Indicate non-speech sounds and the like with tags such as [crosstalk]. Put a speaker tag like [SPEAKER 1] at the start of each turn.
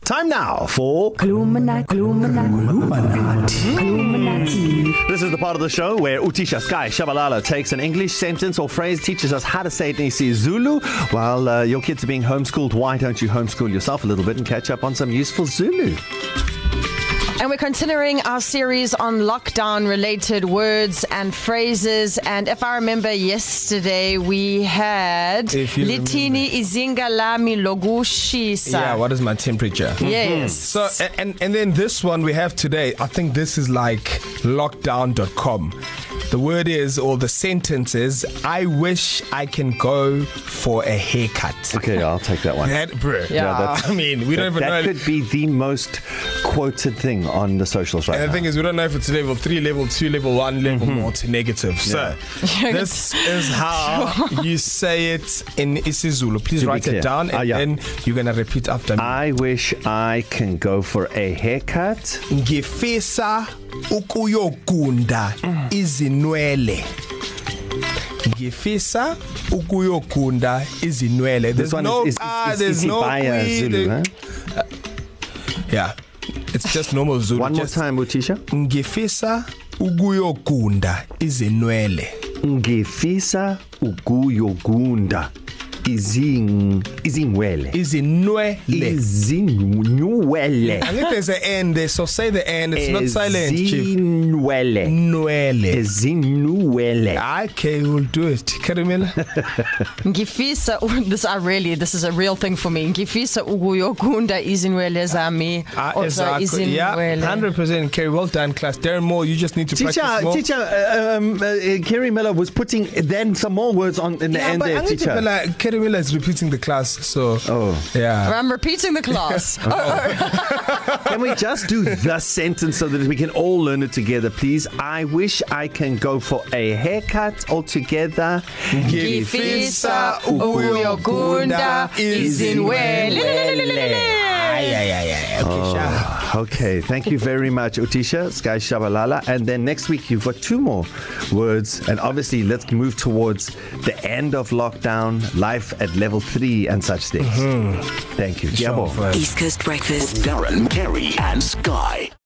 [SPEAKER 1] Time now for
[SPEAKER 2] Gluminati, Gluminati, Gluminati.
[SPEAKER 1] This is the part of the show where Utisha Sky Shabalala takes an English sentence or phrase, teaches us how to say it in isiZulu. While uh, your kids are being homeschooled, why don't you homeschool yourself a little bit and catch up on some useful Zulu?
[SPEAKER 3] And we're continuing our series on lockdown related words and phrases. And if I remember yesterday, we had
[SPEAKER 4] If you
[SPEAKER 3] Litini Izingalami Logushisa.
[SPEAKER 4] Yeah, what is my temperature?
[SPEAKER 3] Yes.
[SPEAKER 4] So a- and and then this one we have today. I think this is like lockdown.com. The word is or the sentence is I wish I can go for a haircut.
[SPEAKER 1] Okay, I'll take that one.
[SPEAKER 4] That bruh.
[SPEAKER 3] Yeah,
[SPEAKER 1] that's-
[SPEAKER 4] [laughs] I mean, we don't even
[SPEAKER 1] that
[SPEAKER 4] know
[SPEAKER 1] could be the most quoted thing on the socials right
[SPEAKER 4] And the
[SPEAKER 1] now.
[SPEAKER 4] thing is, we don't know if it's level three, level two, level one, level mm-hmm. or to negative. Yeah.
[SPEAKER 1] [laughs]
[SPEAKER 4] So this is how you say it in isiZulu. Please
[SPEAKER 1] To be
[SPEAKER 4] write
[SPEAKER 1] clear.
[SPEAKER 4] it down, and
[SPEAKER 1] Ah, yeah.
[SPEAKER 4] then you're gonna repeat after me.
[SPEAKER 1] I wish I can go for a haircut.
[SPEAKER 4] Ngifisa ukuyogunda izinwele. Ngifisa ukuyogunda izinwele.
[SPEAKER 1] This
[SPEAKER 4] There's
[SPEAKER 1] one
[SPEAKER 4] no
[SPEAKER 1] is, is,
[SPEAKER 4] ah,
[SPEAKER 1] is, is
[SPEAKER 4] there's
[SPEAKER 1] easy
[SPEAKER 4] no
[SPEAKER 1] by uh,
[SPEAKER 4] kwi-
[SPEAKER 1] Zulu. Huh?
[SPEAKER 4] Yeah. It's just normal Zulu.
[SPEAKER 1] One more
[SPEAKER 4] just,
[SPEAKER 1] time, Utisha.
[SPEAKER 4] Ngifisa ukuyogunda izinwele.
[SPEAKER 1] Ngifisa ukuyogunda izing izingwele.
[SPEAKER 4] izinwele.
[SPEAKER 1] Izinwele.
[SPEAKER 4] I think there's an end there, so say the end. It's not silent, chief.
[SPEAKER 1] Izinwele.
[SPEAKER 4] Nwele. Ah,
[SPEAKER 1] Izinwele.
[SPEAKER 4] Okay, we'll do it. Karimela.
[SPEAKER 3] Ngifisa this I really this is a real thing for me. Ngifisa ukuyokunda izinwele zami oza
[SPEAKER 4] Ah, yeah,
[SPEAKER 3] izinwele.
[SPEAKER 4] 100% Kerry. Well done, class. Darren Moore, you just need to
[SPEAKER 1] Teacher,
[SPEAKER 4] practice more.
[SPEAKER 1] teacher, uh, um, uh, Kerry Miller was putting then some more words on in the
[SPEAKER 4] Yeah,
[SPEAKER 1] end
[SPEAKER 4] but
[SPEAKER 1] there, teacher.
[SPEAKER 4] Karimela, Karimela is repeating the class, so
[SPEAKER 1] Oh.
[SPEAKER 4] yeah.
[SPEAKER 3] I'm repeating the
[SPEAKER 4] [laughs]
[SPEAKER 3] class. oh, oh.
[SPEAKER 1] Can we just do the sentence so that we can all learn it together, please? I wish I can go for a haircut altogether.
[SPEAKER 3] Ngifisa ukuyogunda
[SPEAKER 4] Ah,
[SPEAKER 3] izinwele.
[SPEAKER 4] yeah, yeah, yeah. yeah. Okay, sure.
[SPEAKER 1] Oh, Okay, thank you very much, Utisha, Sky Shabalala. And then next week, you've got two more words. And obviously, let's move towards the end of lockdown, life at level three, and such things. Mm-hmm. Thank you. Sure,
[SPEAKER 5] East Coast Breakfast.
[SPEAKER 6] Darren, Kerry, and Sky.